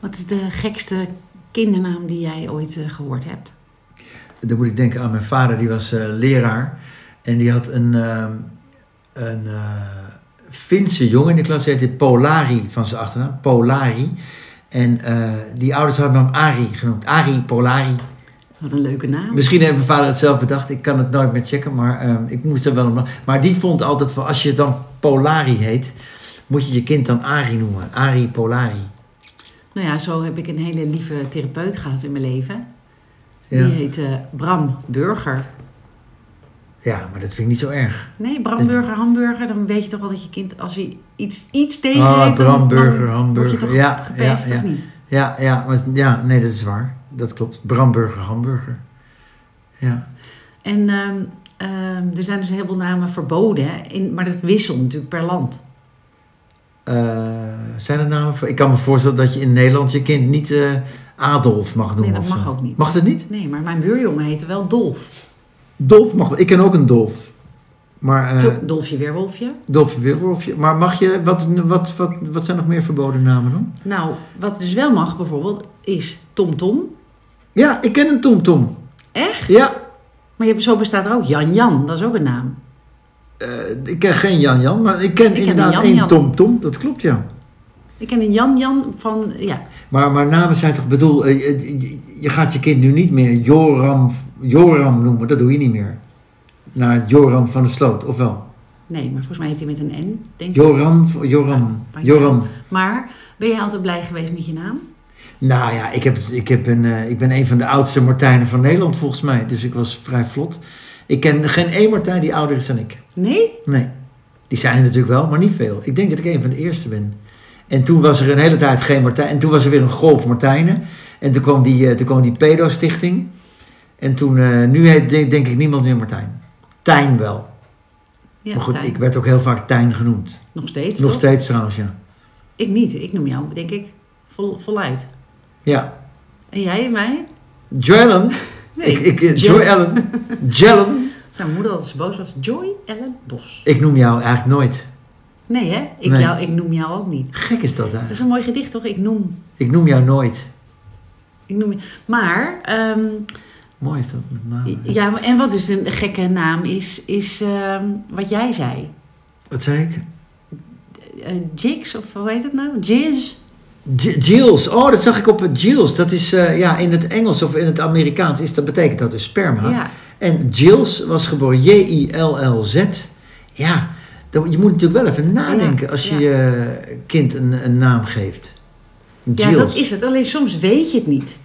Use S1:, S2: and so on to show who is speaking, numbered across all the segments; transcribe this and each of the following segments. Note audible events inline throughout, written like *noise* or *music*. S1: Wat is de gekste kindernaam die jij ooit eh, gehoord hebt?
S2: Dan moet ik denken aan mijn vader, die was eh, leraar. En die had een, ehm, een eh, Finse jongen in de klas, die heette Polari van zijn achternaam, Polari. En eh, die ouders hadden hem Ari genoemd, Ari Polari.
S1: Wat een leuke naam.
S2: Misschien heeft mijn vader het zelf bedacht, ik kan het nooit meer checken, maar ehm, ik moest er wel om. Maar die vond altijd van, als je dan Polari heet, moet je je kind dan Ari noemen, Ari Polari.
S1: Nou ja, zo heb ik een hele lieve therapeut gehad in mijn leven.
S2: Ja.
S1: Die heet eh, Bram Burger.
S2: Ja, maar dat vind ik niet zo erg.
S1: Nee, Bram Burger, hamburger. Dan weet je toch wel dat je kind, als hij iets, iets tegen
S2: Ah,
S1: heeft... dan-
S2: Bram
S1: dan
S2: Burger,
S1: Word
S2: hamburger.
S1: je toch
S2: Ja,
S1: gepest,
S2: ja, ja.
S1: of niet?
S2: Ja, ja, maar, ja, nee, dat is waar. Dat klopt. Bramburger, hamburger. Ja.
S1: En ehm, ehm, er zijn dus een heleboel namen verboden. hè, In, maar dat wisselt natuurlijk per land.
S2: Eh, zijn er namen voor? Ik kan me voorstellen dat je in Nederland je kind niet eh, Adolf mag noemen.
S1: dat
S2: of
S1: mag
S2: zo.
S1: ook niet.
S2: Mag dat niet?
S1: Nee, maar mijn buurjongen heette wel Dolf.
S2: Dolf mag wel. Ik ken ook een Dolf. Maar, eh
S1: Zo, Dolfje Weerwolfje.
S2: Dolf Wilworfje. Maar mag je, wat, wat, wat, wat zijn nog meer verboden namen dan?
S1: Nou, wat dus wel mag bijvoorbeeld, is Tom Tom.
S2: Ja, ik ken een TomTom.
S1: Echt?
S2: Ja,
S1: Maar je hebt, zo bestaat er ook Jan Jan. Dat is ook een naam.
S2: eh, ik ken geen Jan Jan, maar ik
S1: ken
S2: ken
S1: een
S2: inderdaad
S1: Jan
S2: één
S1: Jan.
S2: TomTom. Dat klopt, ja.
S1: Ik ken een Jan Jan van, ja.
S2: Maar, maar namen zijn toch bedoel, eh, eh, je, je gaat je kind nu niet meer Joram, Joram noemen, dat doe je niet meer. Naar Joram van de Sloot, of wel?
S1: Nee, maar volgens mij heet hij met een N, denk ik.
S2: Joram, Joram,
S1: Ja,
S2: Joram.
S1: Maar ben jij altijd blij geweest met je naam?
S2: Nou ja, ik, heb, ik, heb een, eh, ik ben een van de oudste Martijnen van Nederland volgens mij, dus ik was vrij vlot. Ik ken geen één Martijn die ouder is dan ik.
S1: Nee?
S2: Nee, die zijn er natuurlijk wel, maar niet veel. Ik denk dat ik een van de eerste ben. En toen was er een hele tijd geen Martijn. En toen was er weer een golf Martijnen. En toen kwam die, eh, toen kwam die pedo-stichting. En toen, eh, nu heet denk, denk ik niemand meer Martijn. Tijn wel.
S1: Ja,
S2: maar goed,
S1: Tijn.
S2: ik werd ook heel vaak Tijn genoemd.
S1: Nog steeds,
S2: Nog
S1: toch?
S2: steeds trouwens, ja.
S1: Ik niet. Ik noem jou, denk ik, vol, voluit.
S2: Ja.
S1: En jij, mij?
S2: Joellen.
S1: Nee,
S2: ik, ik, eh,
S1: Joy.
S2: Joellen. Jellen.
S1: Zijn moeder altijd zo boos was. Joy Ellen Bos.
S2: Ik noem jou eigenlijk nooit.
S1: Nee, hè? Ik,
S2: Nee.
S1: Jou, ik noem jou ook niet.
S2: Gek is dat
S1: Dat
S2: eigenlijk.
S1: is een mooi gedicht, toch? Ik noem.
S2: Ik noem jou nooit.
S1: Ik noem je. Maar, ehm,
S2: Mooi is dat met name.
S1: ja, maar- en wat dus een gekke naam is, is ehm, wat jij zei.
S2: Wat zei ik?
S1: Eh Jigs, of hoe heet het nou? Jizz.
S2: J- Jills, oh dat zag ik op het Jills. Dat is eh, ja, in het Engels of in het Amerikaans is, dat betekent dat dus sperma.
S1: Ja.
S2: En Jills was geboren J-I-L-L-Z. Ja, dan, je moet natuurlijk wel even nadenken
S1: Ja,
S2: als je
S1: ja.
S2: je kind een, een naam geeft. Jills.
S1: Ja, dat is het. Alleen soms weet je het niet.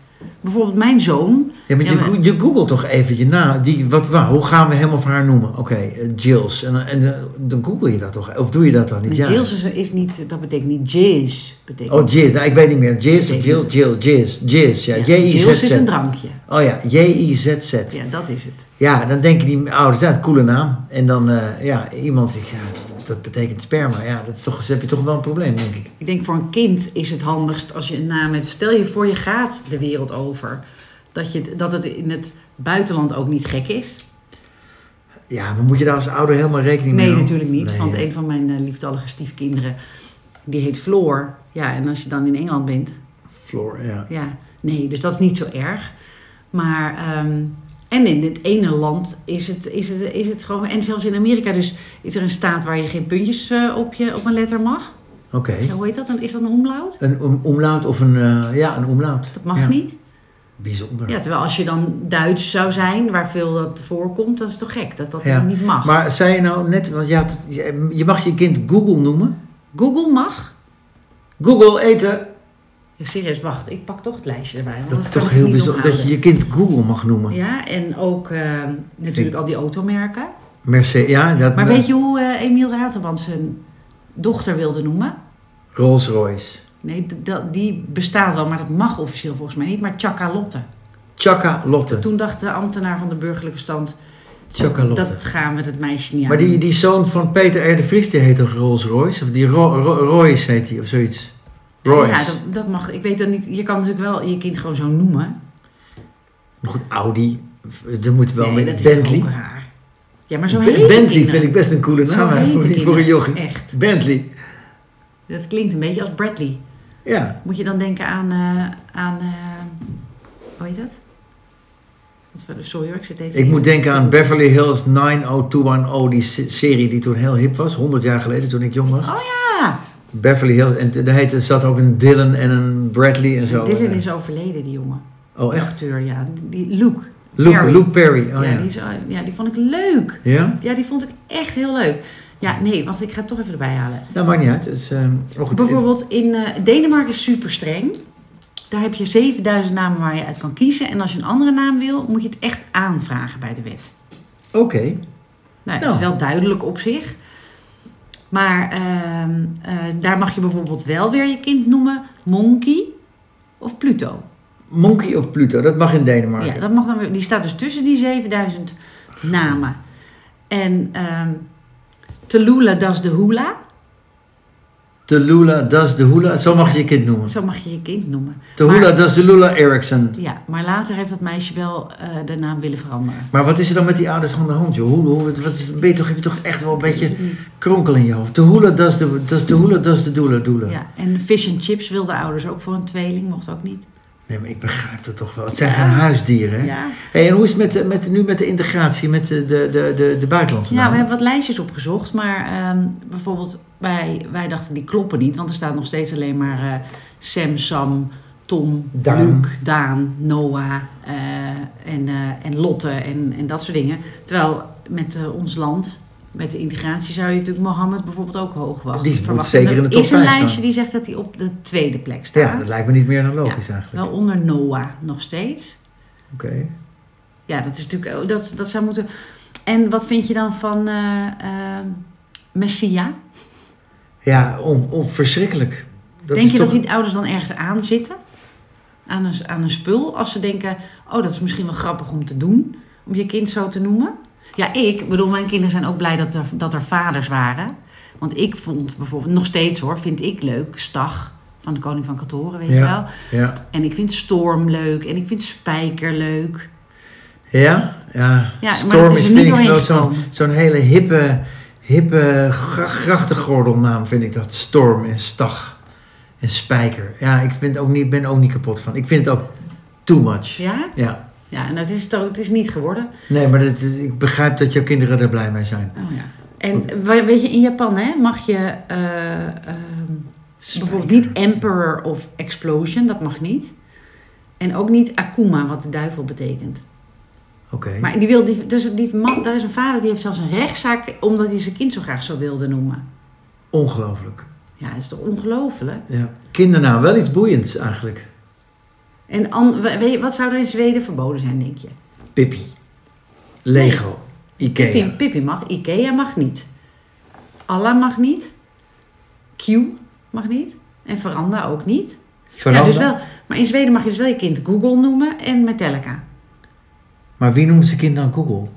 S1: Bijvoorbeeld mijn zoon.
S2: Ja, maar
S1: Ja,
S2: je,
S1: maar-
S2: go- je googelt toch even je naam. Die, wat, waar, hoe gaan we hem of haar noemen? Oké, eh, Jills. En, dan- en dan- dan google je dat toch? Of doe je dat dan niet?
S1: Jills is, is niet, dat betekent niet jizz. Betekent,
S2: Oh, Jills. Nou, ik weet niet meer. Jills of
S1: Betekent-
S2: Jills, Jills, Jills, Jills. Ja,
S1: Ja,
S2: J-I-Z-Z.
S1: Jills is een drankje.
S2: Oh ja, J-I-Z-Z.
S1: Ja, dat is het.
S2: Ja, dan denken die ouders, dat is een coole naam. En dan, eh, ja, iemand, die- ja, dat, dat betekent sperma. Ja, dat is toch, dus heb je toch wel een probleem, denk ik.
S1: Ik denk voor een kind is het handigst als je een naam hebt. Stel je voor je gaat de wereld over. Dat, je, het- dat het in het buitenland ook niet gek is.
S2: Ja, maar moet je daar als ouder helemaal rekening mee
S1: Nee,
S2: houden?
S1: natuurlijk niet.
S2: Nee,
S1: want
S2: hè.
S1: een van mijn eh, lieftallige stiefkinderen, die heet Floor. Ja, en als je dan in Engeland bent,
S2: Floor, ja.
S1: ja. Nee, dus dat is niet zo erg. Maar, ehm, en in het ene land is het, is, het, is het gewoon... En zelfs in Amerika dus is er een staat waar je geen puntjes eh, op, je, op een letter mag.
S2: Oké.
S1: Ja, hoe heet dat? dan? Is dat een omlaut?
S2: Een om- omlaut of een, eh, ja, een omlaut.
S1: Dat mag
S2: Ja.
S1: niet.
S2: Bijzonder.
S1: Ja, terwijl als je dan Duits zou zijn, waar veel dat voorkomt, dan is het toch gek dat dat
S2: Ja.
S1: niet mag.
S2: Maar zei je nou net, want je, had het- je- je mag je kind Google noemen.
S1: Google mag?
S2: Google eten.
S1: Ja, serieus, wacht, ik pak toch het lijstje erbij. want
S2: Dat is
S1: anders kan
S2: toch
S1: ik het
S2: heel
S1: niet
S2: bijzonder, dat
S1: onthouden.
S2: je je kind Google mag noemen.
S1: Ja, en ook eh, natuurlijk al die automerken.
S2: Mercedes, ja. Dat
S1: Maar weet je hoe eh, Emiel Raterband zijn dochter wilde noemen?
S2: Rolls Royce.
S1: Nee, d- dat- die bestaat wel, maar dat mag officieel volgens mij niet. Maar Chakalotte.
S2: Chaka Lotte.
S1: Toen dacht de ambtenaar van de burgerlijke stand...
S2: Chaka Lotte.
S1: dat gaan we dat meisje niet aan.
S2: Maar die, die zoon van Peter R. de Vries, die heet toch Rolls Royce? Of die Ro- Ro- Royce heet hij, of zoiets? Royce.
S1: Ja, dat, dat mag. Ik weet dat niet. Je kan natuurlijk wel je kind gewoon zo noemen.
S2: Maar goed, Audi, eh, er moet wel
S1: nee,
S2: met
S1: dat
S2: Bentley.
S1: is toch ook raar. Ja, maar zo
S2: Be-
S1: heet
S2: Bentley vind ik best een coole
S1: Zo
S2: naam hè,
S1: heten
S2: voor, voor
S1: kinderen,
S2: een jochie.
S1: echt.
S2: Bentley.
S1: Dat klinkt een beetje als Bradley.
S2: Ja,
S1: Moet je dan denken aan, eh, aan eh, hoe heet dat? Wat voor- Sorry hoor, ik zit even...
S2: ik moet denken aan Beverly Hills 90210, die se- serie die toen heel hip was, 100 jaar geleden toen ik jong was.
S1: Ja,
S2: Beverly Hills, en t- daar heette- zat ook een Dylan en een Bradley en zo. eh.
S1: Dylan is overleden, die jongen.
S2: Oh,
S1: De
S2: echt?
S1: acteur, ja. Die, Luke.
S2: Luke
S1: Perry.
S2: Perry. Luke Perry, oh
S1: ja,
S2: ja.
S1: Die is, eh, ja, die vond ik leuk.
S2: Ja?
S1: Ja, die vond ik echt heel leuk. Ja, nee, wacht, ik ga het toch even erbij halen.
S2: Dat maakt niet uit. Het is, ehm, maar goed,
S1: Bijvoorbeeld in eh, Denemarken is super streng. Daar heb je 7000 namen waar je uit kan kiezen. En als je een andere naam wil, moet je het echt aanvragen bij de wet.
S2: Oké,
S1: Nou, het
S2: Nou.
S1: is wel duidelijk op zich. Maar ehm, eh, daar mag je bijvoorbeeld wel weer je kind noemen Monkey of Pluto.
S2: Monkey of Pluto, dat mag in Denemarken.
S1: Ja, dat mag dan weer, die staat dus tussen die 7000 namen. En ehm Telula das de Hula,
S2: Telula das de Hula, zo mag je je kind noemen.
S1: zo mag je je kind noemen.
S2: Telula
S1: Maar-
S2: das de Lula Erickson.
S1: Ja, maar later heeft dat meisje wel eh, de naam willen veranderen.
S2: Maar wat is er dan met die ouders aan de hand, joh? Hoe, hoe, wat wat is, ben je toch, heb je toch echt wel een beetje
S1: Mm.
S2: kronkel in je hoofd? De Hula das de, das de Hula das de Doela Doela.
S1: Ja, en fish and chips wilden ouders ook voor een tweeling, mocht ook niet.
S2: Nee, maar ik begrijp dat toch wel. Het zijn
S1: Ja.
S2: geen huisdieren, hè?
S1: Ja.
S2: Hey, en hoe is het met, eh, met, nu met de integratie met de, de, de, de, de buitenlandse
S1: Ja, we
S2: namen?
S1: hebben wat lijstjes opgezocht, maar ehm, bijvoorbeeld wij, wij dachten die kloppen niet, want er staat nog steeds alleen maar eh, Sam, Sam, Tom,
S2: Daan.
S1: Luc, Daan, Noah eh, en, eh, en Lotte en, en dat soort dingen. Terwijl met eh, ons land, met de integratie, zou je natuurlijk Mohammed bijvoorbeeld ook hoog wachten.
S2: Die moet
S1: verwachten.
S2: zeker in de
S1: Er
S2: top
S1: is een
S2: vijf staan.
S1: lijstje die zegt dat hij op de tweede plek staat.
S2: Ja, dat lijkt me niet meer dan logisch eigenlijk.
S1: Wel onder Noah nog steeds.
S2: Oké.
S1: Ja, dat is natuurlijk ook- dat, dat zou moeten. En wat vind je dan van eh eh, Messia?
S2: Ja, on, on- verschrikkelijk. Dat
S1: Denk
S2: is
S1: je
S2: toch...
S1: dat die ouders dan ergens aan zitten? Aan een, aan een spul? Als ze denken, oh, dat is misschien wel grappig om te doen. Om je kind zo te noemen. Ja, ik bedoel, mijn kinderen zijn ook blij dat er, dat er vaders waren. Want ik vond bijvoorbeeld, nog steeds hoor, vind ik leuk, Stag van de Koning van Katoren, weet je wel.
S2: Ja. Ja.
S1: En ik vind Storm leuk en ik vind Spijker leuk.
S2: Ja, ja.
S1: Ja, maar
S2: Storm
S1: dat is
S2: is,
S1: er niet
S2: vind ik
S1: doorheen
S2: wel zo'n
S1: gekomen.
S2: zo'n hele hippe, hippe gra- grachtengordelnaam vind ik dat. Storm en stag en spijker. Ja, ik vind ook niet, ben ook niet kapot van. Ik vind het ook too much. Ja.
S1: Ja? Ja, en dat is, toch- het is niet geworden.
S2: Nee, maar dat, ik begrijp dat jouw kinderen daar blij mee zijn.
S1: Oh ja. En we- weet je, in Japan hè, mag je eh, ehm, bijvoorbeeld niet Emperor of Explosion, dat mag niet. En ook niet Akuma, wat de duivel betekent.
S2: Oké.
S1: Maar die wil, die, dus die man, daar is een vader die heeft zelfs een rechtszaak omdat hij zijn kind zo graag zo wilde noemen.
S2: Ongelooflijk.
S1: Ja, dat is toch ongelooflijk?
S2: Ja. Kindernaam, wel iets boeiends eigenlijk.
S1: En an- we- weet je, wat zou er in Zweden verboden zijn, denk je?
S2: Pippi. Lego. Ikea.
S1: Pippi, Pippi mag, Ikea mag niet. Allah mag niet. Q mag niet. En Veranda ook niet.
S2: Veranda.
S1: Ja, dus wel. Maar in Zweden mag je dus wel je kind Google noemen en Metallica.
S2: Maar wie noemt zijn kind dan Google?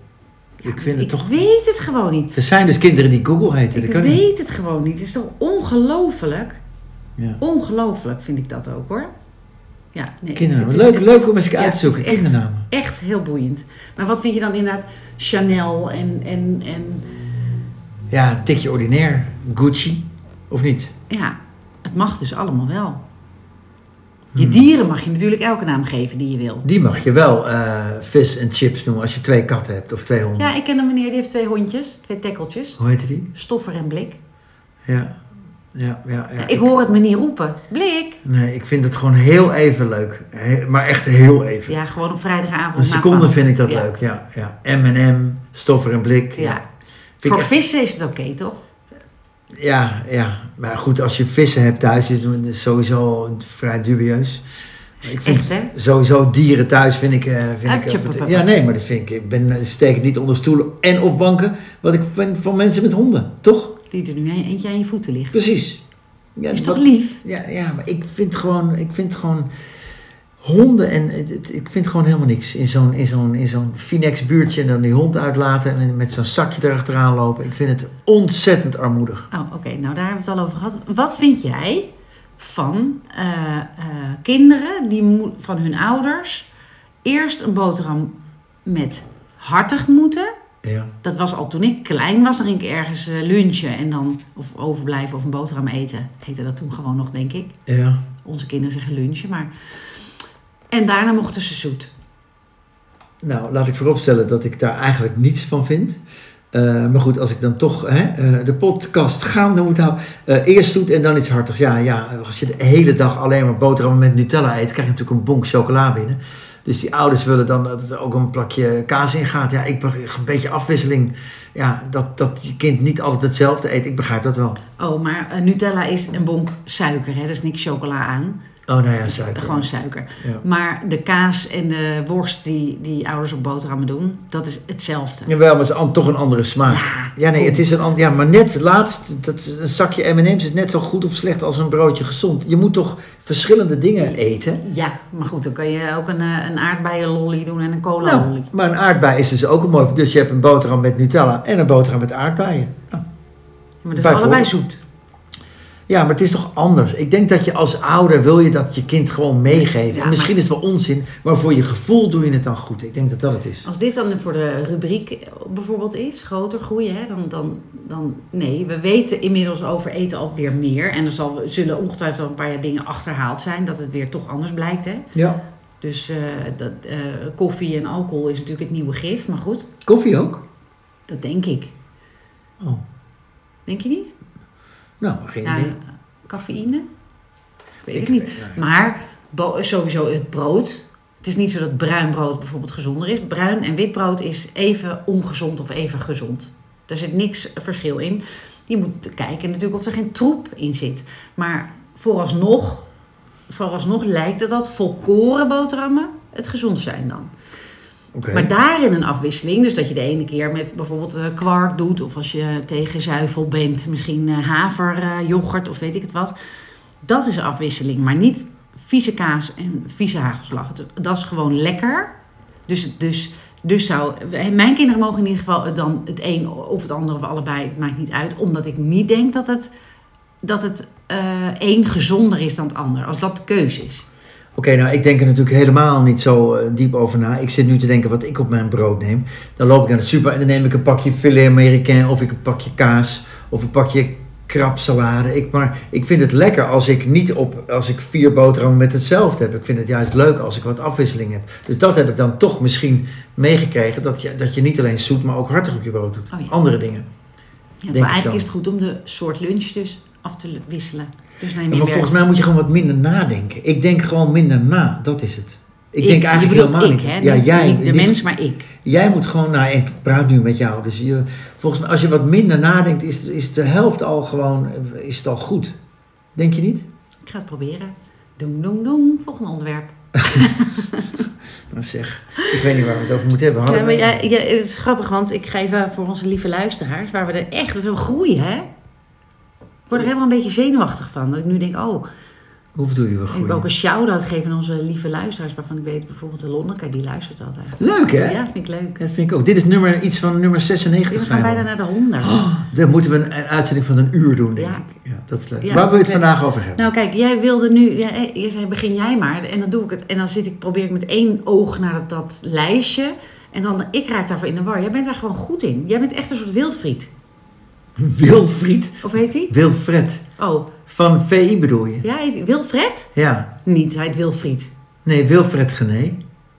S2: ik vind het
S1: ik
S2: toch...
S1: weet het gewoon niet.
S2: Er zijn dus kinderen die Google
S1: Ik
S2: heten. dat kan niet.
S1: weet het gewoon niet. Het is toch ongelooflijk?
S2: Ja.
S1: Ongelooflijk vind ik dat ook hoor. Ja, nee,
S2: Kindernamen.
S1: het-
S2: Leuk,
S1: het-
S2: leuk om eens
S1: ja,
S2: uit te zoeken.
S1: het is echt-
S2: Kindernamen.
S1: Echt heel boeiend. Maar wat vind je dan inderdaad Chanel en, en, en
S2: Ja, een tikje ordinair. Gucci. Of niet?
S1: ja, het mag dus allemaal wel.
S2: Hmm.
S1: Je dieren mag je natuurlijk elke naam geven die je wil.
S2: Die mag je wel eh, vis en chips noemen als je twee katten hebt of twee honden.
S1: Ja, ik ken een meneer die heeft twee hondjes, twee tekkeltjes.
S2: Hoe heette die?
S1: Stoffer en Blik.
S2: Ja. Ja, ja, ja.
S1: Ik hoor het me niet roepen. Blik!
S2: Nee, ik vind het gewoon heel even leuk. He- maar echt heel even.
S1: Ja, gewoon op vrijdagavond.
S2: Een
S1: na
S2: seconde
S1: twaalf.
S2: vind ik dat
S1: Ja.
S2: leuk, ja. ja. M&M, stoffer en blik.
S1: Ja.
S2: Vind ik
S1: Voor
S2: echt-
S1: vissen is het oké, toch?
S2: Ja, ja, maar goed, als je vissen hebt thuis, is het sowieso vrij dubieus. Maar Ik vind
S1: Echt, hè?
S2: sowieso dieren thuis vind ik... eh, vind ik
S1: Atjepepepe.
S2: ja, nee, maar dat vind ik... Ik ben, steek het niet onder stoelen en of banken, wat ik vind van mensen met honden. Toch?
S1: Die er nu een- eentje aan je voeten ligt.
S2: Precies. Ja,
S1: Is
S2: wat-
S1: toch lief?
S2: Ja, ja, maar ik vind gewoon... Ik vind gewoon honden en... het- het- ik vind gewoon helemaal niks. In zo'n in zo'n in zo'n Finex buurtje en dan die hond uitlaten en met zo'n zakje erachteraan lopen. Ik vind het ontzettend armoedig.
S1: Oh, oké. Nou, daar hebben we het al over gehad. Wat vind jij van eh, eh, kinderen die moe- van hun ouders eerst een boterham met hartig moeten?
S2: Ja.
S1: Dat was al toen ik klein was. Dan ging ik ergens eh, lunchen en dan of overblijven of een boterham eten. Heette dat toen gewoon nog, denk ik.
S2: Ja.
S1: Onze kinderen zeggen lunchen, maar... En daarna mochten ze zoet.
S2: Nou, laat ik vooropstellen dat ik daar eigenlijk niets van vind. Eh, maar goed, als ik dan toch hè, eh, de podcast gaande moet houden. eh, eerst zoet en dan iets hartigs. Ja, ja, als je de hele dag alleen maar boterhammen met Nutella eet, krijg je natuurlijk een bonk chocola binnen. Dus die ouders willen dan dat er ook een plakje kaas in gaat. Ja, ik beg- een beetje afwisseling. Ja, dat, dat je kind niet altijd hetzelfde eet. Ik begrijp dat wel.
S1: Oh, maar eh, Nutella is een bonk suiker, hè? Er is niks chocola aan. Eh,
S2: Oh, nou ja, suiker.
S1: Gewoon suiker.
S2: Ja.
S1: Maar de kaas en de worst die, die ouders op boterhammen doen, dat is hetzelfde.
S2: Jawel, maar het is an- toch een andere smaak.
S1: Ja.
S2: Ja, nee, het is een ander. Ja, maar net laatst, dat, een zakje MM's is net zo goed of slecht als een broodje gezond. Je moet toch verschillende dingen eten.
S1: Ja, maar goed, dan kan je ook een, eh, een aardbeienlolly doen en een cola
S2: Nou,
S1: lolly.
S2: maar een aardbei is dus ook een mooi. Dus je hebt een boterham met Nutella en een boterham met aardbeien. Nou,
S1: maar dat is allebei
S2: bijvoorbeeld.
S1: zoet.
S2: Ja, maar het is toch anders. Ik denk dat je als ouder wil je dat je kind gewoon meegeven.
S1: Ja,
S2: en misschien is het wel onzin, maar voor je gevoel doe je het dan goed. Ik denk dat dat het is.
S1: Als dit dan voor de rubriek bijvoorbeeld is, groter groeien, hè, dan, dan, dan nee. We weten inmiddels over eten alweer meer. En er zal, zullen ongetwijfeld al een paar jaar dingen achterhaald zijn, dat het weer toch anders blijkt. Hè?
S2: Ja.
S1: Dus eh, dat, eh, koffie en alcohol is natuurlijk het nieuwe gif, maar goed,
S2: Koffie ook?
S1: dat denk ik.
S2: Oh.
S1: Denk je niet?
S2: Nou, geen
S1: Ja,
S2: idee.
S1: cafeïne? Ik weet
S2: Ik
S1: het niet.
S2: weet- nee.
S1: Maar bo- sowieso het brood. Het is niet zo dat bruin brood bijvoorbeeld gezonder is. Bruin en wit brood is even ongezond of even gezond. Daar zit niks verschil in. Je moet kijken natuurlijk of er geen troep in zit. Maar vooralsnog, vooralsnog lijkt het dat volkoren boterhammen het gezond zijn dan.
S2: Oké.
S1: Maar daarin een afwisseling. Dus dat je de ene keer met bijvoorbeeld eh, kwark doet. Of als je tegen zuivel bent. Misschien eh, haver, eh, yoghurt of weet ik het wat. Dat is afwisseling. Maar niet vieze kaas en vieze hagelslag. Het- Dat is gewoon lekker. Dus, dus, dus zou... Mijn kinderen mogen in ieder geval het dan het een of het ander of allebei. Het maakt niet uit. Omdat ik niet denk dat het... Dat het eh, één gezonder is dan het ander. Als dat de keuze is.
S2: Oké, nou ik denk er natuurlijk helemaal niet zo eh, diep over na. Ik zit nu te denken wat ik op mijn brood neem. Dan loop ik naar de super en dan neem ik een pakje filet américain of ik een pakje kaas of een pakje krabsalade. Ik, maar ik vind het lekker als ik niet op, als ik vier boterhammen met hetzelfde heb. Ik vind het juist leuk als ik wat afwisseling heb. Dus dat heb ik dan toch misschien meegekregen. Dat je, dat je niet alleen zoet, maar ook hartig op je brood doet.
S1: Oh ja.
S2: Andere dingen.
S1: Ja, terwijl
S2: Denk ik dan.
S1: eigenlijk is het goed om de soort lunch dus af te lu- wisselen. Dus neem
S2: Ja,
S1: je
S2: maar
S1: werk.
S2: volgens mij moet je gewoon wat minder nadenken. Ik denk gewoon minder na. Dat is het. Ik, denk eigenlijk
S1: je bedoelt
S2: helemaal
S1: ik,
S2: niet.
S1: hè?
S2: Ja,
S1: niet,
S2: jij.
S1: niet de
S2: dit-
S1: mens, maar ik.
S2: Jij moet gewoon, nou ik praat nu met jou, dus je, volgens mij als je wat minder nadenkt, is, is de helft al gewoon, eh, is het al goed. Denk je niet?
S1: Ik ga het proberen. Doem, doem, doem. Volgende onderwerp.
S2: Nou zeg, ik weet niet waar we het over moeten hebben.
S1: Ja,
S2: Hadden
S1: maar
S2: we-
S1: ja, ja, het is grappig, want ik geef eh, voor onze lieve luisteraars, waar we er echt veel groeien, hè? Ik word er helemaal een beetje zenuwachtig van. Dat ik nu denk, oh,
S2: Hoe bedoel je we
S1: ik wil ook
S2: goed?
S1: een shout-out geven aan onze lieve luisteraars, waarvan ik weet bijvoorbeeld de Lonneke, die luistert altijd.
S2: Leuk hè?
S1: Ja, vind ik leuk.
S2: Dat vind ik ook. Dit is nummer, iets van nummer 96.
S1: We gaan
S2: zijn we
S1: bijna
S2: al.
S1: naar de 100.
S2: Oh, dan moeten we een, een uitzending van een uur doen, denk
S1: Ja.
S2: ik. Ja, dat is leuk.
S1: Ja,
S2: waar wil je
S1: ik
S2: het
S1: weet-
S2: vandaag over hebben?
S1: Nou kijk, jij wilde nu, ja, hé, je zei begin jij maar en dan doe ik het. En dan zit ik, probeer ik met één oog naar dat, dat lijstje. En dan, ik raak daarvoor in de war. Jij bent daar gewoon goed in. Jij bent echt een soort Wilfried. Nou-
S2: *laughs* Wilfried,
S1: Of heet hij?
S2: Wilfred,
S1: Oh,
S2: van VI bedoel je?
S1: ja, heet hij Wilfred?
S2: Ja.
S1: Niet, hij heet Wilfried.
S2: Nee, Wilfred Gené.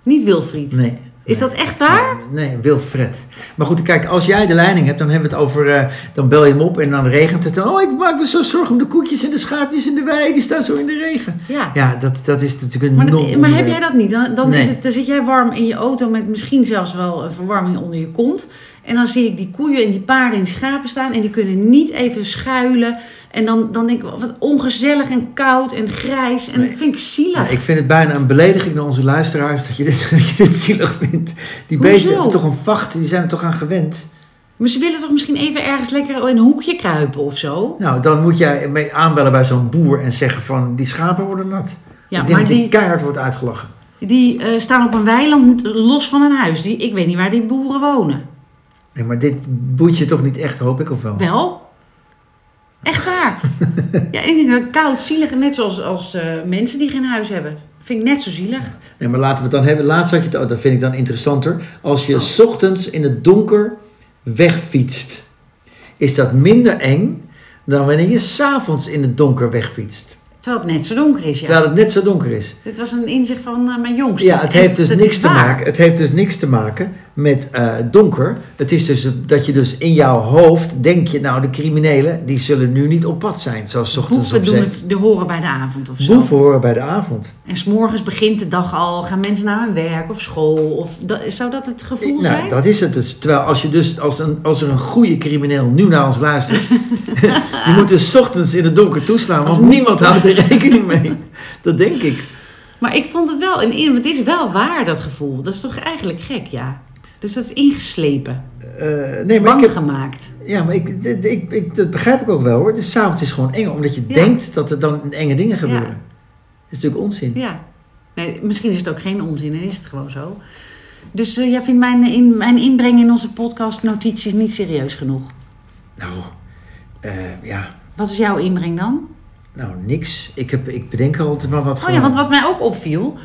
S1: Niet Wilfried.
S2: Nee.
S1: Is dat echt waar?
S2: Nee, nee, Wilfred. Maar goed, kijk, als jij de leiding hebt, dan hebben we het over. eh, dan bel je hem op en dan regent het. En, oh, ik maak me zo zorgen om de koekjes en de schaapjes in de wei, die staan zo in de regen.
S1: Ja.
S2: Ja, dat, dat is natuurlijk een
S1: Maar, dat-
S2: non
S1: maar heb jij dat niet? Dan, dan, is
S2: Nee.
S1: het, dan zit jij warm in je auto met misschien zelfs wel een verwarming onder je kont. En dan zie ik die koeien en die paarden en die schapen staan en die kunnen niet even schuilen. En dan, dan denk ik, wat ongezellig en koud en grijs. En
S2: Nee.
S1: dat vind ik zielig.
S2: Ja, ik vind het bijna een belediging naar onze luisteraars dat je dit, *laughs* dat je dit zielig vindt. Die
S1: Hoezo?
S2: beesten hebben toch een vacht, die zijn er toch aan gewend.
S1: Maar ze willen toch misschien even ergens lekker in een hoekje kruipen of zo?
S2: Nou, dan moet jij mee aanbellen bij zo'n boer en zeggen: van die schapen worden nat.
S1: Ja,
S2: ik denk
S1: maar
S2: dat je
S1: die,
S2: keihard wordt uitgelachen.
S1: die eh, staan op een weiland los van hun huis. Die, ik weet niet waar die boeren wonen.
S2: Nee, maar dit boeit je toch niet echt, hoop ik of wel?
S1: Wel? Echt
S2: *laughs*
S1: waar. ja, ik denk dat koud, zielig, net zoals als, eh, mensen die geen huis hebben. Vind ik net zo zielig.
S2: Nee, maar laten we het dan hebben. Laatst had je het, oh, dat vind ik dan interessanter. Als je
S1: Oh.
S2: 's ochtends in het donker wegfietst, is dat minder eng dan wanneer je s'avonds in het donker wegfietst.
S1: Terwijl het net zo donker is, ja.
S2: Terwijl het net zo donker is.
S1: Dit was een inzicht van eh, mijn jongste.
S2: Ja, het
S1: En
S2: heeft, dus
S1: dat
S2: niks
S1: is
S2: te
S1: waar.
S2: maken, het heeft dus niks te maken met eh, donker. Het is dus dat je dus in jouw hoofd denk je, nou de criminelen die zullen nu niet op pad zijn. Zoals 's ochtends
S1: Boeven
S2: op
S1: doen
S2: zee.
S1: het de horen bij de avond of zo.
S2: Boeven horen bij de avond.
S1: En s'morgens begint de dag al, gaan mensen naar hun werk of school? Of da- zou dat het gevoel zijn?
S2: Nou, dat is het dus. Terwijl als, je dus, als, een, als er een goede crimineel nu naar ons luistert, *laughs* je moet dus 's ochtends in het donker toeslaan, want
S1: Als-
S2: niemand houdt er rekening mee. Dat denk ik.
S1: Maar ik vond het wel, een, in- het is wel waar dat gevoel. Dat is toch eigenlijk gek, ja. Dus dat is ingeslepen,
S2: Eh, nee, maar ik
S1: bang
S2: heb,
S1: gemaakt.
S2: Ja, maar ik, dit- ik, ik, dat begrijp ik ook wel hoor. Dus s'avonds is gewoon eng, omdat je
S1: Ja.
S2: denkt dat er dan enge dingen gebeuren.
S1: Ja.
S2: Dat is natuurlijk onzin.
S1: Ja. Nee, misschien is het ook geen onzin en is het gewoon zo. Dus eh, jij vindt mijn, eh, in, mijn inbreng in onze podcast notities niet serieus genoeg.
S2: Nou, eh, ja,
S1: Wat is jouw inbreng dan?
S2: nou niks. Ik, heb, ik bedenk altijd maar wat.
S1: Oh ja, want wat mij ook opviel.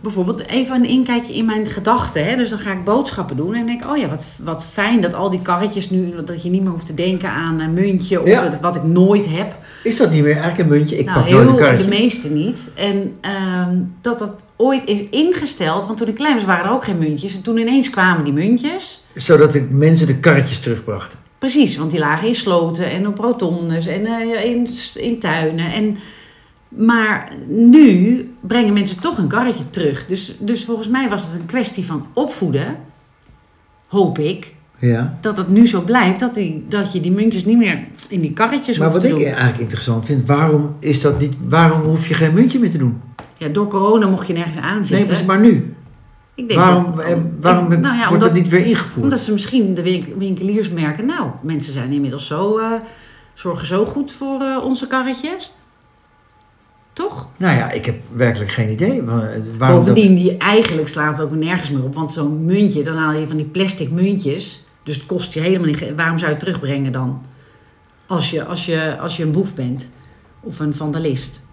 S1: Bijvoorbeeld even een inkijkje in mijn gedachten. Hè? Dus dan ga ik boodschappen doen en denk ik, oh ja, wat, wat fijn dat al die karretjes nu, dat je niet meer hoeft te denken aan een muntje of
S2: Ja.
S1: het- wat ik nooit heb.
S2: Is dat niet meer eigenlijk een muntje? Ik
S1: nou,
S2: pak nooit een
S1: heel de
S2: karretje.
S1: meeste niet. En ehm, dat dat ooit is ingesteld, want toen ik klein was waren er ook geen muntjes. En toen ineens kwamen die muntjes.
S2: Zodat ik mensen de karretjes terugbracht.
S1: Precies, want die lagen in sloten en op rotondes en eh, in, s- in tuinen. En, maar nu brengen mensen toch een karretje terug. Dus, dus volgens mij was het een kwestie van opvoeden, hoop ik,
S2: Ja.
S1: dat het nu zo blijft. Dat, die, dat je die muntjes niet meer in die karretjes
S2: Maar
S1: hoeft
S2: wat
S1: te
S2: ik
S1: doen.
S2: eigenlijk interessant vind, waarom is dat niet? Waarom hoef je geen muntje meer te doen?
S1: Ja, door corona mocht je nergens aan
S2: Nee,
S1: zitten.
S2: precies maar nu.
S1: ik denk
S2: Waarom,
S1: dat-
S2: eh, waarom
S1: ik- nou ja,
S2: wordt
S1: omdat-
S2: dat niet weer ingevoerd?
S1: Omdat ze misschien de wink- winkeliers merken, nou, mensen zijn inmiddels zo, eh, zorgen zo goed voor eh, onze karretjes. Toch?
S2: Nou ja, ik heb werkelijk geen idee. wa- Waarom dat-
S1: Bovendien, die eigenlijk slaat ook nergens meer op. Want zo'n muntje, dan haal je van die plastic muntjes. Dus het kost je helemaal niet. ge- Waarom zou je het terugbrengen dan? Als je, als je, als je een boef bent. Of een vandalist.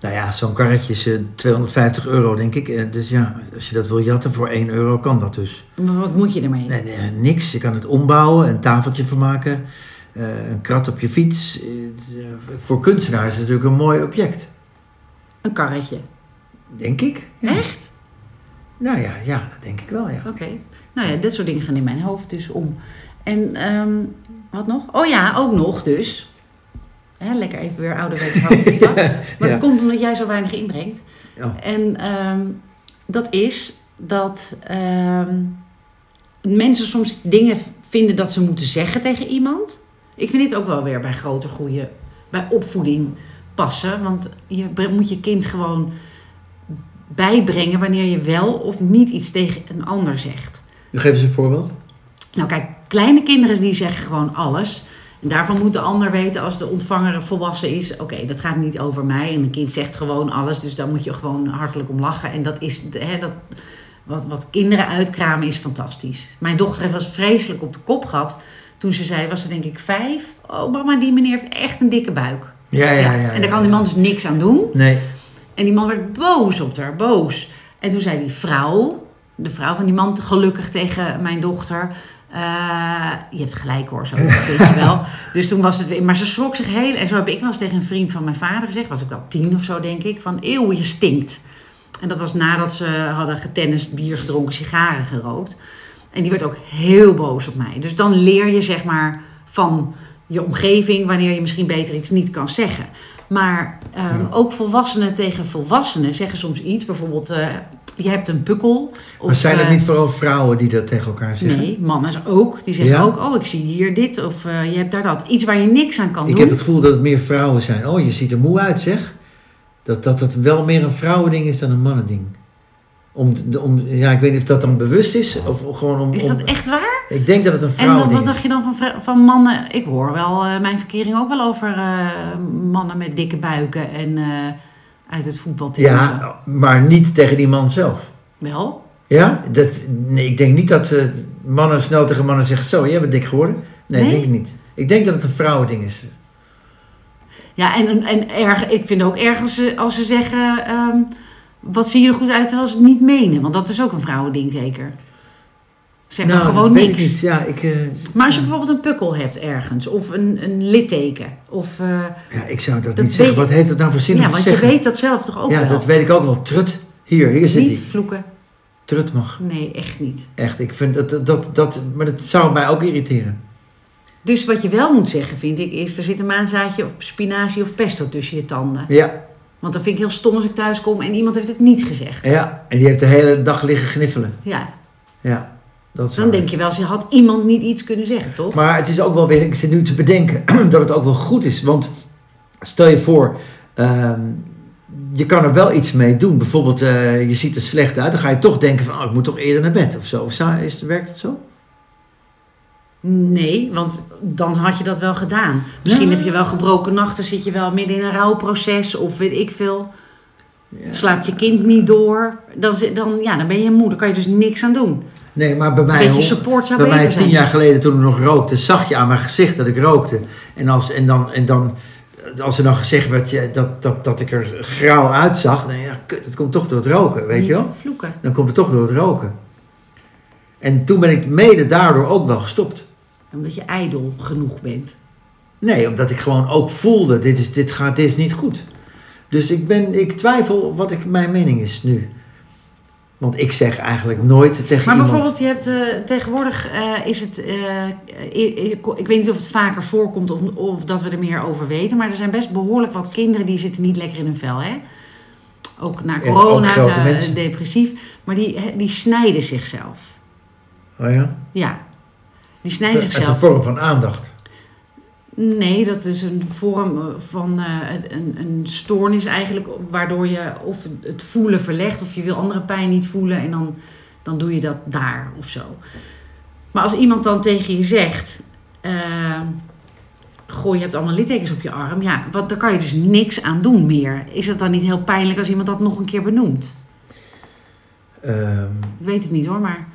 S2: Nou ja, zo'n karretje is eh, 250 euro, denk ik. Eh, Dus ja, als je dat wil jatten voor 1 euro, kan dat dus.
S1: Maar wat moet je ermee?
S2: Nee, nee, niks. Je kan het ombouwen, een tafeltje van maken, eh, een krat op je fiets. Eh, voor kunstenaars is het natuurlijk een mooi object,
S1: Een karretje.
S2: denk ik. Ja.
S1: Echt?
S2: Nou ja, ja, dat denk ik wel, ja.
S1: Oké. Nou ja, dit soort dingen gaan in mijn hoofd dus om. En ehm, wat nog? Oh ja, ook nog dus. Hè, lekker even weer ouderwets houden op de tak. Maar
S2: *laughs* Ja.
S1: dat komt omdat jij zo weinig inbrengt.
S2: Oh,
S1: En ehm, dat is dat ehm, mensen soms dingen vinden dat ze moeten zeggen tegen iemand. Ik vind dit ook wel weer bij grote goede, bij opvoeding passen. Want je bre- moet je kind gewoon bijbrengen wanneer je wel of niet iets tegen een ander zegt.
S2: nu geef eens een voorbeeld.
S1: Nou kijk, kleine kinderen die zeggen gewoon alles. En daarvan moet de ander weten als de ontvanger volwassen is. Oké, dat gaat niet over mij. En een kind zegt gewoon alles. Dus daar moet je gewoon hartelijk om lachen. En dat is, de- hè, dat, wat, wat kinderen uitkramen is fantastisch. Mijn dochter heeft was vreselijk op de kop gehad. Toen ze zei, was ze denk ik vijf. Oh mama, die meneer heeft echt een dikke buik.
S2: Ja, ja, ja. ja,
S1: en daar kan die man dus niks aan doen.
S2: Nee,
S1: En die man werd boos op haar, boos. En toen zei die vrouw, de vrouw van die man, gelukkig tegen mijn dochter. eh, je hebt gelijk hoor, zo *laughs* weet je wel. Dus toen was het weer, maar ze schrok zich heel. En zo heb ik wel eens tegen een vriend van mijn vader gezegd, was ik wel tien of zo denk ik, van eeuw, je stinkt. En dat was nadat ze hadden getennist, bier gedronken, sigaren gerookt. En die werd ook heel boos op mij. Dus dan leer je zeg maar van je omgeving wanneer je misschien beter iets niet kan zeggen. Maar ehm,
S2: Ja.
S1: ook volwassenen tegen volwassenen zeggen soms iets. Bijvoorbeeld, eh, je hebt een pukkel.
S2: maar zijn
S1: eh,
S2: er niet vooral vrouwen die dat tegen elkaar zeggen?
S1: Nee, mannen ook. Die zeggen
S2: Ja?
S1: ook, oh ik zie hier dit of eh, je hebt daar dat. Iets waar je niks aan kan
S2: Ik
S1: doen.
S2: heb het gevoel dat het meer vrouwen zijn. Oh, je ziet er moe uit, zeg. Dat dat, dat wel meer een vrouwending is dan een mannending. Om, de- om, ja, ik weet niet of dat dan bewust is. Of gewoon om,
S1: Is
S2: om-
S1: dat echt waar?
S2: ik denk dat het een
S1: En wat,
S2: vrouwending
S1: wat dacht je dan van, vrou- van mannen? Ik hoor wel eh, mijn verkering ook wel over eh, mannen met dikke buiken en eh, uit het
S2: is.
S1: voetbalteam. en zo.
S2: Ja, maar niet tegen die man zelf.
S1: Wel?
S2: Ja? Dat, nee, ik denk niet dat eh, mannen snel tegen mannen zeggen... Zo, jij bent dik geworden. Nee,
S1: Nee?
S2: denk ik niet. Ik denk dat het een vrouwending is.
S1: Ja, en, en, en erg, ik vind het ook erg als ze, als ze zeggen: ehm, Wat zie je er goed uit terwijl ze het niet menen? Want dat is ook een vrouwending, zeker. Zeg maar gewoon
S2: Nou, dat weet
S1: niks.
S2: ik niet. Ja, ik, eh,
S1: Maar als je bijvoorbeeld een pukkel hebt ergens, of een, een litteken, of... eh,
S2: ja, ik zou dat,
S1: Dat
S2: niet zeggen.
S1: weet-
S2: Wat heeft dat nou voor zin
S1: ja,
S2: om
S1: want
S2: te zeggen?
S1: je weet dat zelf toch ook
S2: ja,
S1: wel.
S2: dat weet ik ook wel. Trut. Hier, hier zit
S1: Niet
S2: hij.
S1: vloeken.
S2: Trut mag.
S1: Nee, echt niet.
S2: Echt, ik vind dat, dat, dat, dat... Maar dat zou mij ook irriteren.
S1: Dus wat je wel moet zeggen, vind ik, is er zit een maanzaadje of spinazie of pesto tussen je tanden.
S2: Ja,
S1: Want dan vind ik heel stom als ik thuis kom en iemand heeft het niet gezegd.
S2: ja. En die heeft de hele dag liggen gniffelen.
S1: Ja,
S2: Ja, dat is
S1: dan
S2: waar.
S1: denk je wel, ze had iemand niet iets kunnen zeggen, toch?
S2: Maar het is ook wel weer, ik zit nu te bedenken, *clears throat* dat het ook wel goed is. Want stel je voor, ehm, je kan er wel iets mee doen. Bijvoorbeeld, eh, je ziet er slecht uit, dan ga je toch denken van, oh, ik moet toch eerder naar bed of zo. Of zou- is, werkt het zo?
S1: Nee, want dan had je dat wel gedaan. Misschien
S2: Ja.
S1: heb je wel gebroken nachten, zit je wel midden in een rouwproces of weet ik veel. Slaapt je kind niet door, dan, zit- dan, ja, dan ben je moeder, kan je dus niks aan doen.
S2: Nee, maar bij
S1: Een
S2: mij,
S1: beetje
S2: hoor-
S1: support zou
S2: bij mij
S1: beter
S2: tien
S1: zijn.
S2: jaar geleden toen ik nog rookte, zag je aan mijn gezicht dat ik rookte. En als, en dan, en dan, als er dan gezegd werd ja, dat, dat, dat ik er grauw uitzag, dan denk je, ja, kut, dat komt toch door het roken, weet
S1: Niet
S2: je wel?
S1: Vloeken.
S2: dan komt het toch door het roken. En toen ben ik mede daardoor ook wel gestopt.
S1: Omdat je ijdel genoeg bent.
S2: Nee, omdat ik gewoon ook voelde, dit is, dit gaat, dit is niet goed. Dus ik, ben, ik twijfel wat ik, mijn mening is nu. Want ik zeg eigenlijk nooit tegen
S1: Maar
S2: iemand...
S1: bijvoorbeeld, je hebt eh, tegenwoordig eh, is het. eh, eh, eh, ik weet niet of het vaker voorkomt of, of dat we er meer over weten. Maar er zijn best behoorlijk wat kinderen die zitten niet lekker in hun vel. Hè? Ook na
S2: Ja, ook
S1: corona,
S2: grote
S1: ze-
S2: mensen.
S1: depressief. Maar die, die snijden zichzelf.
S2: Oh ja?
S1: Ja, die snijden
S2: Dat is een
S1: zichzelf.
S2: vorm van aandacht.
S1: Nee, dat is een vorm eh, van eh, het- een, een stoornis eigenlijk, waardoor je of het voelen verlegt of je wil andere pijn niet voelen en dan, dan doe je dat daar of zo. Maar als iemand dan tegen je zegt, eh, goh, je hebt allemaal littekens op je arm, ja, wat, daar kan je dus niks aan doen meer. Is het dan niet heel pijnlijk als iemand dat nog een keer benoemt?
S2: Ehm,
S1: Ik weet het niet hoor, maar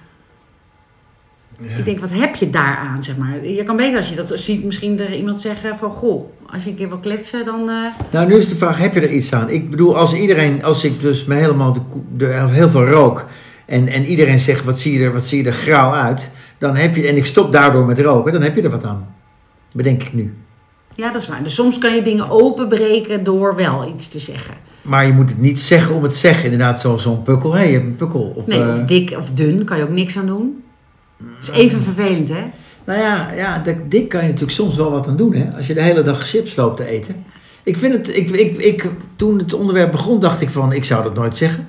S2: ja.
S1: ik denk, wat heb je daaraan, zeg maar? Je kan beter als je dat ziet, misschien er iemand zeggen van, goh, als je een keer wil kletsen, dan... eh,
S2: Nou, nu is de vraag, heb je er iets aan? Ik bedoel, als iedereen, als ik dus me helemaal de, ko- de, heel veel rook en, en iedereen zegt, wat zie, je er, wat zie je er grauw uit? Dan heb je, en ik stop daardoor met roken, dan heb je er wat aan. Bedenk ik nu.
S1: Ja, dat is waar. Dus soms kan je dingen openbreken door wel iets te zeggen.
S2: Maar je moet het niet zeggen om het zeggen. Inderdaad, zo- zo'n pukkel. Hé, je hebt een pukkel. Of,
S1: Nee,
S2: eh,
S1: of dik of dun kan je ook niks aan doen. Dat is even vervelend, hè?
S2: nou ja, ja dat, dik kan je natuurlijk soms wel wat aan doen. Hè? Als je de hele dag chips loopt te eten. Ik vind het, ik, ik, ik, toen het onderwerp begon, dacht ik van, ik zou dat nooit zeggen.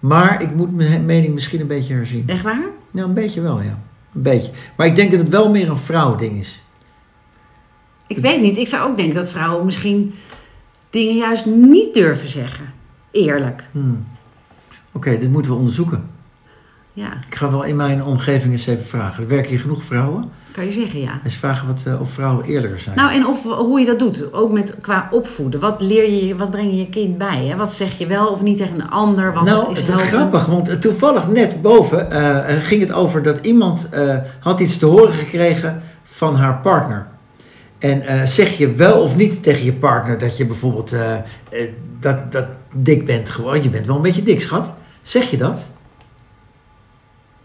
S2: Maar ik moet mijn mening misschien een beetje herzien.
S1: Echt waar?
S2: Nou, een beetje wel, ja. Een beetje. Maar ik denk dat het wel meer een vrouwending is.
S1: Ik weet niet. Ik zou ook denken dat vrouwen misschien dingen juist niet durven zeggen. Eerlijk.
S2: Hmm. Oké, dit moeten we onderzoeken.
S1: Ja,
S2: Ik ga wel in mijn omgeving eens even vragen. Er werken hier genoeg vrouwen.
S1: kan je zeggen, ja.
S2: Eens vragen wat, eh, of vrouwen eerlijker zijn.
S1: Nou, en of, hoe je dat doet, ook met, qua opvoeden. Wat leer je, wat breng je je kind bij? Hè? Wat zeg je wel of niet tegen een ander? Wat
S2: nou,
S1: is
S2: het is
S1: helpend?
S2: grappig, want eh, toevallig net boven eh, eh, ging het over dat iemand eh, had iets te horen gekregen van haar partner. En eh, zeg je wel of niet tegen je partner dat je bijvoorbeeld eh, eh, dat, dat dik bent gewoon. Je bent wel een beetje dik, schat. Zeg je dat?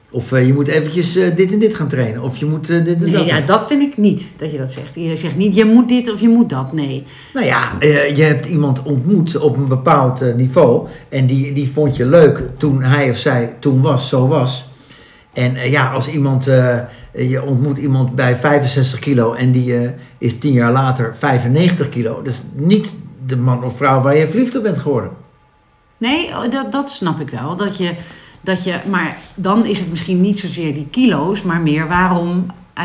S2: Of eh, je moet eventjes eh, dit en dit gaan trainen. Of je moet eh, dit en
S1: Nee,
S2: dat.
S1: ja, dat vind ik niet dat je dat zegt. Je zegt niet, je moet dit of je moet dat. Nee.
S2: Nou ja, eh, je hebt iemand ontmoet op een bepaald eh, niveau. En die, die vond je leuk toen hij of zij toen was, zo was. En eh, ja, als iemand, eh, je ontmoet iemand bij 65 kilo en die eh, is 10 jaar later 95 kilo. Dat is niet de man of vrouw waar je verliefd op bent geworden.
S1: Nee, oh, dat, dat snap ik wel. Dat je, dat je, maar dan is het misschien niet zozeer die kilo's, maar meer waarom, eh,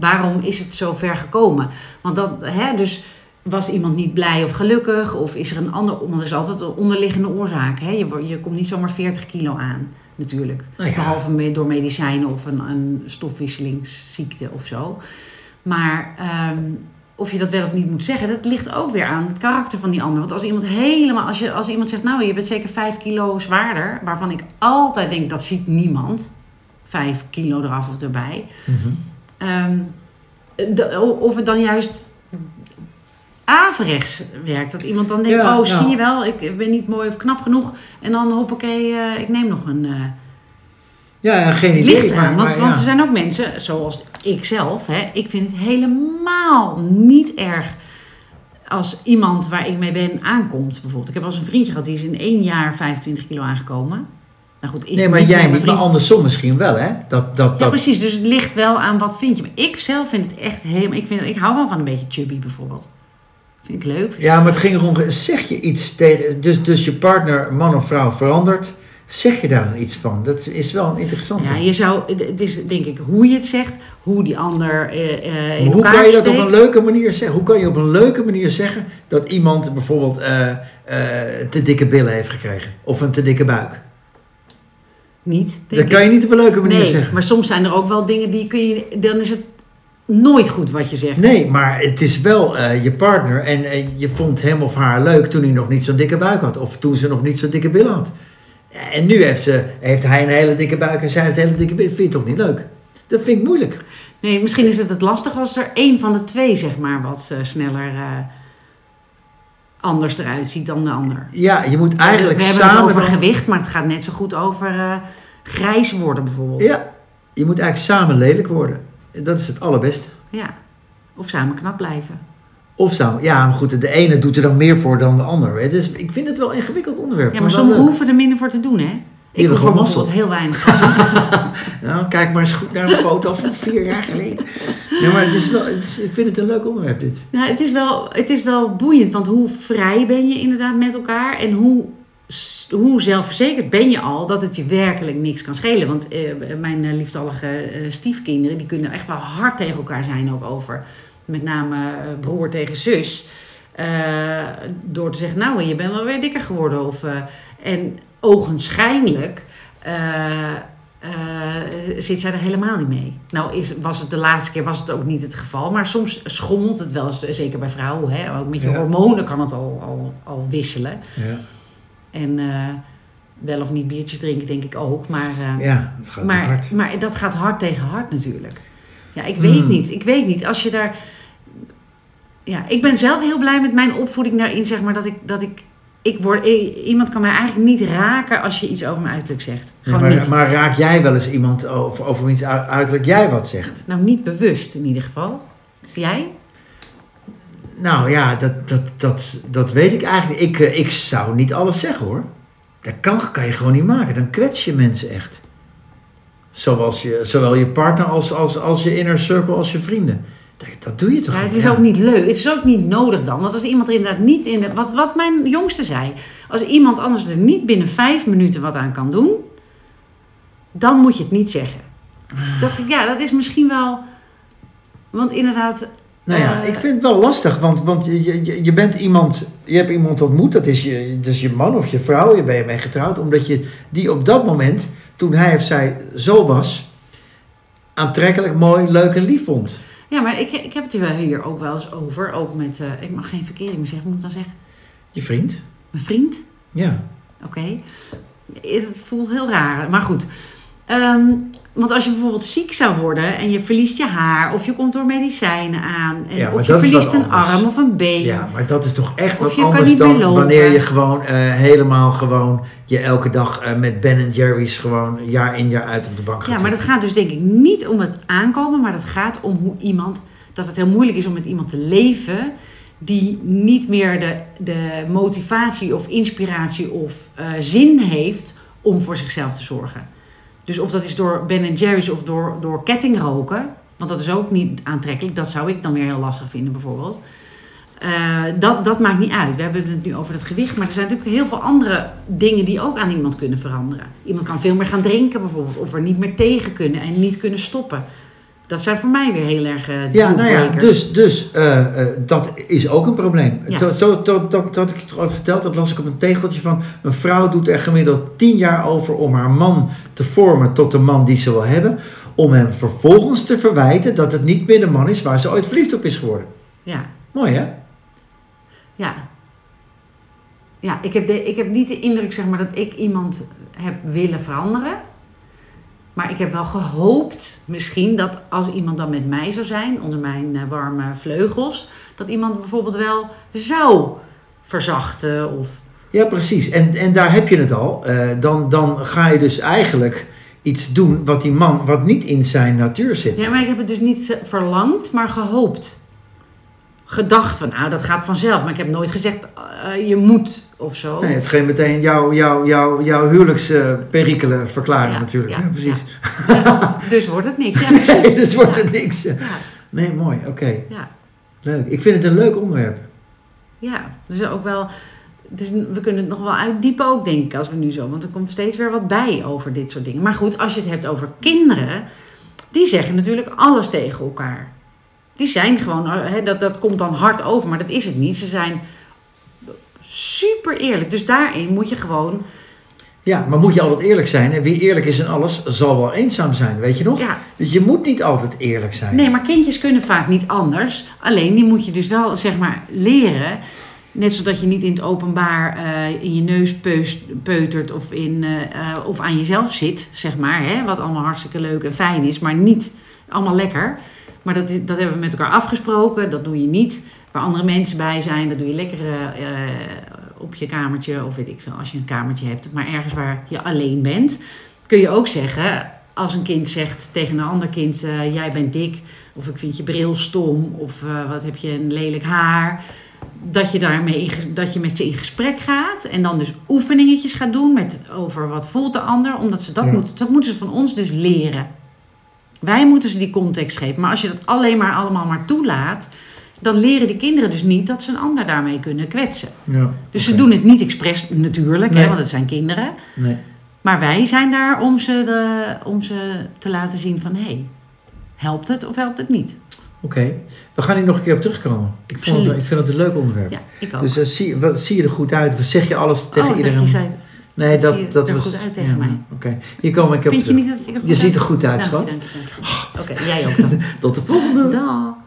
S1: waarom is het zo ver gekomen? Want dat, hè, dus was iemand niet blij of gelukkig? Of is er een ander, want er is altijd een onderliggende oorzaak. Hè? Je, wo- je komt niet zomaar 40 kilo aan, natuurlijk.
S2: Nou ja.
S1: Behalve me- door medicijnen of een, een stofwisselingsziekte of zo. Maar ehm, of je dat wel of niet moet zeggen, dat ligt ook weer aan het karakter van die ander. Want als iemand helemaal, als, je, als iemand zegt, nou je bent zeker 5 kilo zwaarder, waarvan ik altijd denk dat ziet niemand, 5 kilo eraf of erbij. Ehm, de- o- of het dan juist averechts werkt. Dat iemand dan denkt,
S2: Ja,
S1: oh
S2: ja.
S1: zie je wel, ik ben niet mooi of knap genoeg. En dan hoppakee, eh ik neem nog een eh
S2: Ja, geen
S1: Het
S2: idee.
S1: ligt eraan,
S2: maar-
S1: want,
S2: maar
S1: want
S2: ja.
S1: er zijn ook mensen, zoals ik zelf, hè, ik vind het helemaal niet erg als iemand waar ik mee ben aankomt bijvoorbeeld. Ik heb wel eens een vriendje gehad, die is in één jaar 25 kilo aangekomen. Nou goed, is
S2: Nee, maar
S1: niet
S2: jij
S1: meer
S2: niet,
S1: mijn
S2: maar
S1: vriend.
S2: andersom misschien wel, hè? Dat, dat,
S1: Ja,
S2: dat,
S1: precies. Dus het ligt wel aan wat vind je. Maar ik zelf vind het echt helemaal... Ik, vind, ik hou wel van een beetje chubby bijvoorbeeld. Vind ik leuk. vind
S2: Ja,
S1: ik-
S2: maar het ging erom, zeg je iets tegen, dus, dus je partner, man of vrouw, verandert, zeg je daar dan iets van? Dat is wel een interessante.
S1: Ja, je zou... het- Het is denk ik hoe je het zegt, hoe die ander eh, eh, in
S2: Maar hoe
S1: elkaar
S2: kan je dat op
S1: steekt.
S2: een leuke manier zeggen? Hoe kan je op een leuke manier zeggen dat iemand bijvoorbeeld eh, eh, te dikke billen heeft gekregen? Of een te dikke buik?
S1: Niet, denk
S2: Dat
S1: ik.
S2: kan je niet op een leuke manier
S1: nee,
S2: zeggen.
S1: maar soms zijn er ook wel dingen die kun je... Dan is het nooit goed wat je zegt.
S2: Nee, maar het is wel eh, je partner en eh, je vond hem of haar leuk toen hij nog niet zo'n dikke buik had. Of toen ze nog niet zo'n dikke billen had. Eh, En nu heeft, ze, heeft hij een hele dikke buik en zij heeft een hele dikke billen. Vind je toch niet leuk? Dat vind ik moeilijk.
S1: Nee, misschien is het het lastig als er één van de twee, zeg maar, wat eh, sneller eh, anders eruit ziet dan de ander.
S2: Ja, je moet eigenlijk
S1: we hebben
S2: samen...
S1: het over
S2: dan-
S1: gewicht, maar het gaat net zo goed over eh, grijs worden bijvoorbeeld.
S2: ja, je moet eigenlijk samen lelijk worden. Dat is het allerbeste.
S1: Ja. Of samen knap blijven.
S2: Of samen... Ja, maar goed, de ene doet er dan meer voor dan de ander. Het is, ik vind het wel een ingewikkeld onderwerp.
S1: Ja, maar
S2: wel
S1: sommigen
S2: leuk.
S1: hoeven er minder voor te doen, hè? Ik
S2: hebben
S1: hoef er
S2: gewoon
S1: bijvoorbeeld heel weinig aan.
S2: Nou, kijk maar eens goed naar een foto van vier jaar
S1: *laughs*
S2: geleden. Ja, maar het is wel, het is, ik vind het een leuk onderwerp, dit.
S1: *laughs* Nou, het is, wel, het is wel boeiend, want hoe vrij ben je inderdaad met elkaar en hoe, s- hoe zelfverzekerd ben je al dat het je werkelijk niks kan schelen. Want eh, mijn eh, liefdallige eh, stiefkinderen, die kunnen echt wel hard tegen elkaar zijn ook over. Met name eh, broer tegen zus. Eh, door te zeggen, nou je bent wel weer dikker geworden. Of, eh, en ogenschijnlijk eh, eh, zit zij er helemaal niet mee. Nou is, was het de laatste keer was het ook niet het geval. Maar soms schommelt het wel eens, zeker bij vrouwen. Hè? Ook met je
S2: Ja.
S1: hormonen kan het al, al, al wisselen.
S2: Ja,
S1: En eh, wel of niet biertjes drinken denk ik ook. Maar, eh,
S2: ja het gaat
S1: maar,
S2: hard.
S1: maar dat gaat hard tegen hard natuurlijk. Ja, ik weet
S2: Hmm.
S1: niet. Ik weet niet. Als je daar... Ja, ik ben zelf heel blij met mijn opvoeding daarin, zeg maar, dat ik... Dat ik, ik word, i- iemand kan mij eigenlijk niet raken als je iets over mijn uiterlijk zegt.
S2: Ja,
S1: Gewoon niet.
S2: maar, maar raak jij wel eens iemand over, over wiens uit- uiterlijk jij wat zegt?
S1: Nou, niet bewust in ieder geval. Jij?
S2: Nou ja, dat, dat, dat, dat weet ik eigenlijk. Ik, eh, ik zou niet alles zeggen hoor. Dat kan, kan je gewoon niet maken. Dan kwets je mensen echt. Zoals je, zowel je partner als, als, als je inner circle als je vrienden. Dat, dat doe je toch
S1: Ja,
S2: niet?
S1: het is
S2: Ja.
S1: ook niet leuk. Het is ook niet nodig dan. Want als iemand er inderdaad niet in... De, wat, wat mijn jongste zei. Als iemand anders er niet binnen vijf minuten wat aan kan doen... dan moet je het niet zeggen. dacht ik, ja, dat is misschien wel... Want inderdaad...
S2: Nou ja,
S1: Eh,
S2: ik vind het wel lastig, want, want je, je, je bent iemand, je hebt iemand ontmoet, dat is je, dus je man of je vrouw, je bent mee getrouwd, omdat je die op dat moment, toen hij of zij zo was, aantrekkelijk, mooi, leuk en lief vond.
S1: Ja, maar ik, ik heb het hier wel- hier ook wel eens over. Ook met... eh, ik mag geen verkering meer zeggen. Ik moet dan zeggen...
S2: Je vriend?
S1: Mijn vriend?
S2: Ja.
S1: Oké. Het voelt heel raar, maar goed. Ehm, want als je bijvoorbeeld ziek zou worden en je verliest je haar, of je komt door medicijnen aan, en,
S2: Ja, maar
S1: of je
S2: dat is
S1: verliest
S2: wat
S1: een
S2: anders.
S1: arm of een been.
S2: Ja, maar dat is toch echt
S1: Of
S2: wat
S1: je kan
S2: anders
S1: niet meer
S2: dan
S1: lopen.
S2: wanneer je gewoon eh, helemaal gewoon, je elke dag eh, met Ben Jerry's gewoon jaar in jaar uit op de bank gaat
S1: Ja, maar dat
S2: zitten.
S1: gaat dus denk ik niet om het aankomen, maar dat gaat om hoe iemand, dat het heel moeilijk is om met iemand te leven die niet meer de, de motivatie of inspiratie of eh, zin heeft om voor zichzelf te zorgen. Dus of dat is door Ben Jerry's of door, door kettingroken, want dat is ook niet aantrekkelijk, dat zou ik dan weer heel lastig vinden bijvoorbeeld. Eh, dat, dat maakt niet uit. We hebben het nu over het gewicht, maar er zijn natuurlijk heel veel andere dingen die ook aan iemand kunnen veranderen. Iemand kan veel meer gaan drinken bijvoorbeeld, of er niet meer tegen kunnen en niet kunnen stoppen. Dat zijn voor mij weer heel erg eh
S2: Ja, nou ja,
S1: dealbreakers.
S2: dus, dus eh, eh, dat is ook een probleem.
S1: Ja.
S2: Zo, zo, dat, dat, dat ik het al verteld, dat las ik op een tegeltje van... een vrouw doet er gemiddeld tien jaar over om haar man te vormen tot de man die ze wil hebben... om hem vervolgens te verwijten dat het niet meer de man is waar ze ooit verliefd op is geworden.
S1: Ja,
S2: Mooi, hè?
S1: ja. Ja, ik heb, de, ik heb niet de indruk zeg maar, dat ik iemand heb willen veranderen. Maar ik heb wel gehoopt misschien dat als iemand dan met mij zou zijn, onder mijn eh, warme vleugels, dat iemand bijvoorbeeld wel zou verzachten of
S2: Ja, precies. En, en daar heb je het al. Eh, dan, dan ga je dus eigenlijk iets doen wat die man, wat niet in zijn natuur zit.
S1: Ja, maar ik heb het dus niet eh, verlangd, maar gehoopt. Gedacht van, nou, dat gaat vanzelf. Maar ik heb nooit gezegd, eh, je moet of zo.
S2: Nee, hetgeen meteen jouw jou, jou, jou huwelijksperikelen verklaren
S1: Ja,
S2: natuurlijk. Ja,
S1: ja,
S2: precies.
S1: Dus wordt het niks. Ja, precies.
S2: *laughs* Nee, dus wordt het niks.
S1: Ja,
S2: Nee, mooi. Oké,
S1: ja,
S2: leuk. Ik vind het een leuk onderwerp.
S1: ja. Dus ook wel... Dus we kunnen het nog wel uitdiepen ook, denk ik, als we nu zo... Want er komt steeds weer wat bij over dit soort dingen. Maar goed, als je het hebt over kinderen... Die zeggen natuurlijk alles tegen elkaar. Die zijn gewoon... eh, Hè, dat, dat komt dan hard over, maar dat is het niet. Ze zijn super eerlijk. Dus daarin moet je gewoon...
S2: Ja, maar moet je altijd eerlijk zijn? En wie eerlijk is in alles, zal wel eenzaam zijn, weet je nog?
S1: Ja,
S2: Dus je moet niet altijd eerlijk zijn.
S1: Nee, maar kindjes kunnen vaak niet anders. Alleen die moet je dus wel, zeg maar, leren. Net zodat je niet in het openbaar eh, in je neus peus- peutert of, in, eh, eh, of aan jezelf zit, zeg maar. Hè? Wat allemaal hartstikke leuk en fijn is, maar niet allemaal lekker. Maar dat, is- dat hebben we met elkaar afgesproken, dat doe je niet. Waar andere mensen bij zijn, dat doe je lekker eh, op je kamertje of weet ik veel, als je een kamertje hebt. Maar ergens waar je alleen bent, kun je ook zeggen, als een kind zegt tegen een ander kind, eh, jij bent dik, of ik vind je bril stom, of eh, wat heb je een lelijk haar. Dat je, daarmee in ge- dat je met ze in gesprek gaat en dan dus oefeningetjes gaat doen met, over wat voelt de ander. Omdat ze dat,
S2: Ja.
S1: moeten, dat moeten ze van ons dus leren. Wij moeten ze die context geven. Maar als je dat alleen maar allemaal maar toelaat, dan leren die kinderen dus niet dat ze een ander daarmee kunnen kwetsen.
S2: Ja,
S1: Dus
S2: oké.
S1: ze doen het niet expres natuurlijk,
S2: Nee.
S1: hè, want het zijn kinderen.
S2: Nee.
S1: Maar wij zijn daar om ze, de, om ze te laten zien van... hé, hey, helpt het of helpt het niet?
S2: Oké, we gaan hier nog een keer op terugkomen. Ik, vond het,
S1: Absoluut.
S2: ik vind het een leuk onderwerp.
S1: Ja, ik ook.
S2: Dus eh, zie, wat, zie je er goed uit? Wat zeg je alles
S1: oh,
S2: tegen
S1: ik dacht,
S2: iedereen?
S1: je zei,
S2: nee,
S1: dat zie je er goed uit tegen mij.
S2: Oké, hier komen we een keer op
S1: vind je
S2: terug.
S1: niet dat ik er goed
S2: Je ziet er
S1: uit-
S2: goed uit,
S1: Dank je,
S2: schat.
S1: dank
S2: *laughs*
S1: je, dank je. Oké, jij ook dan.
S2: Tot de volgende.
S1: Dag.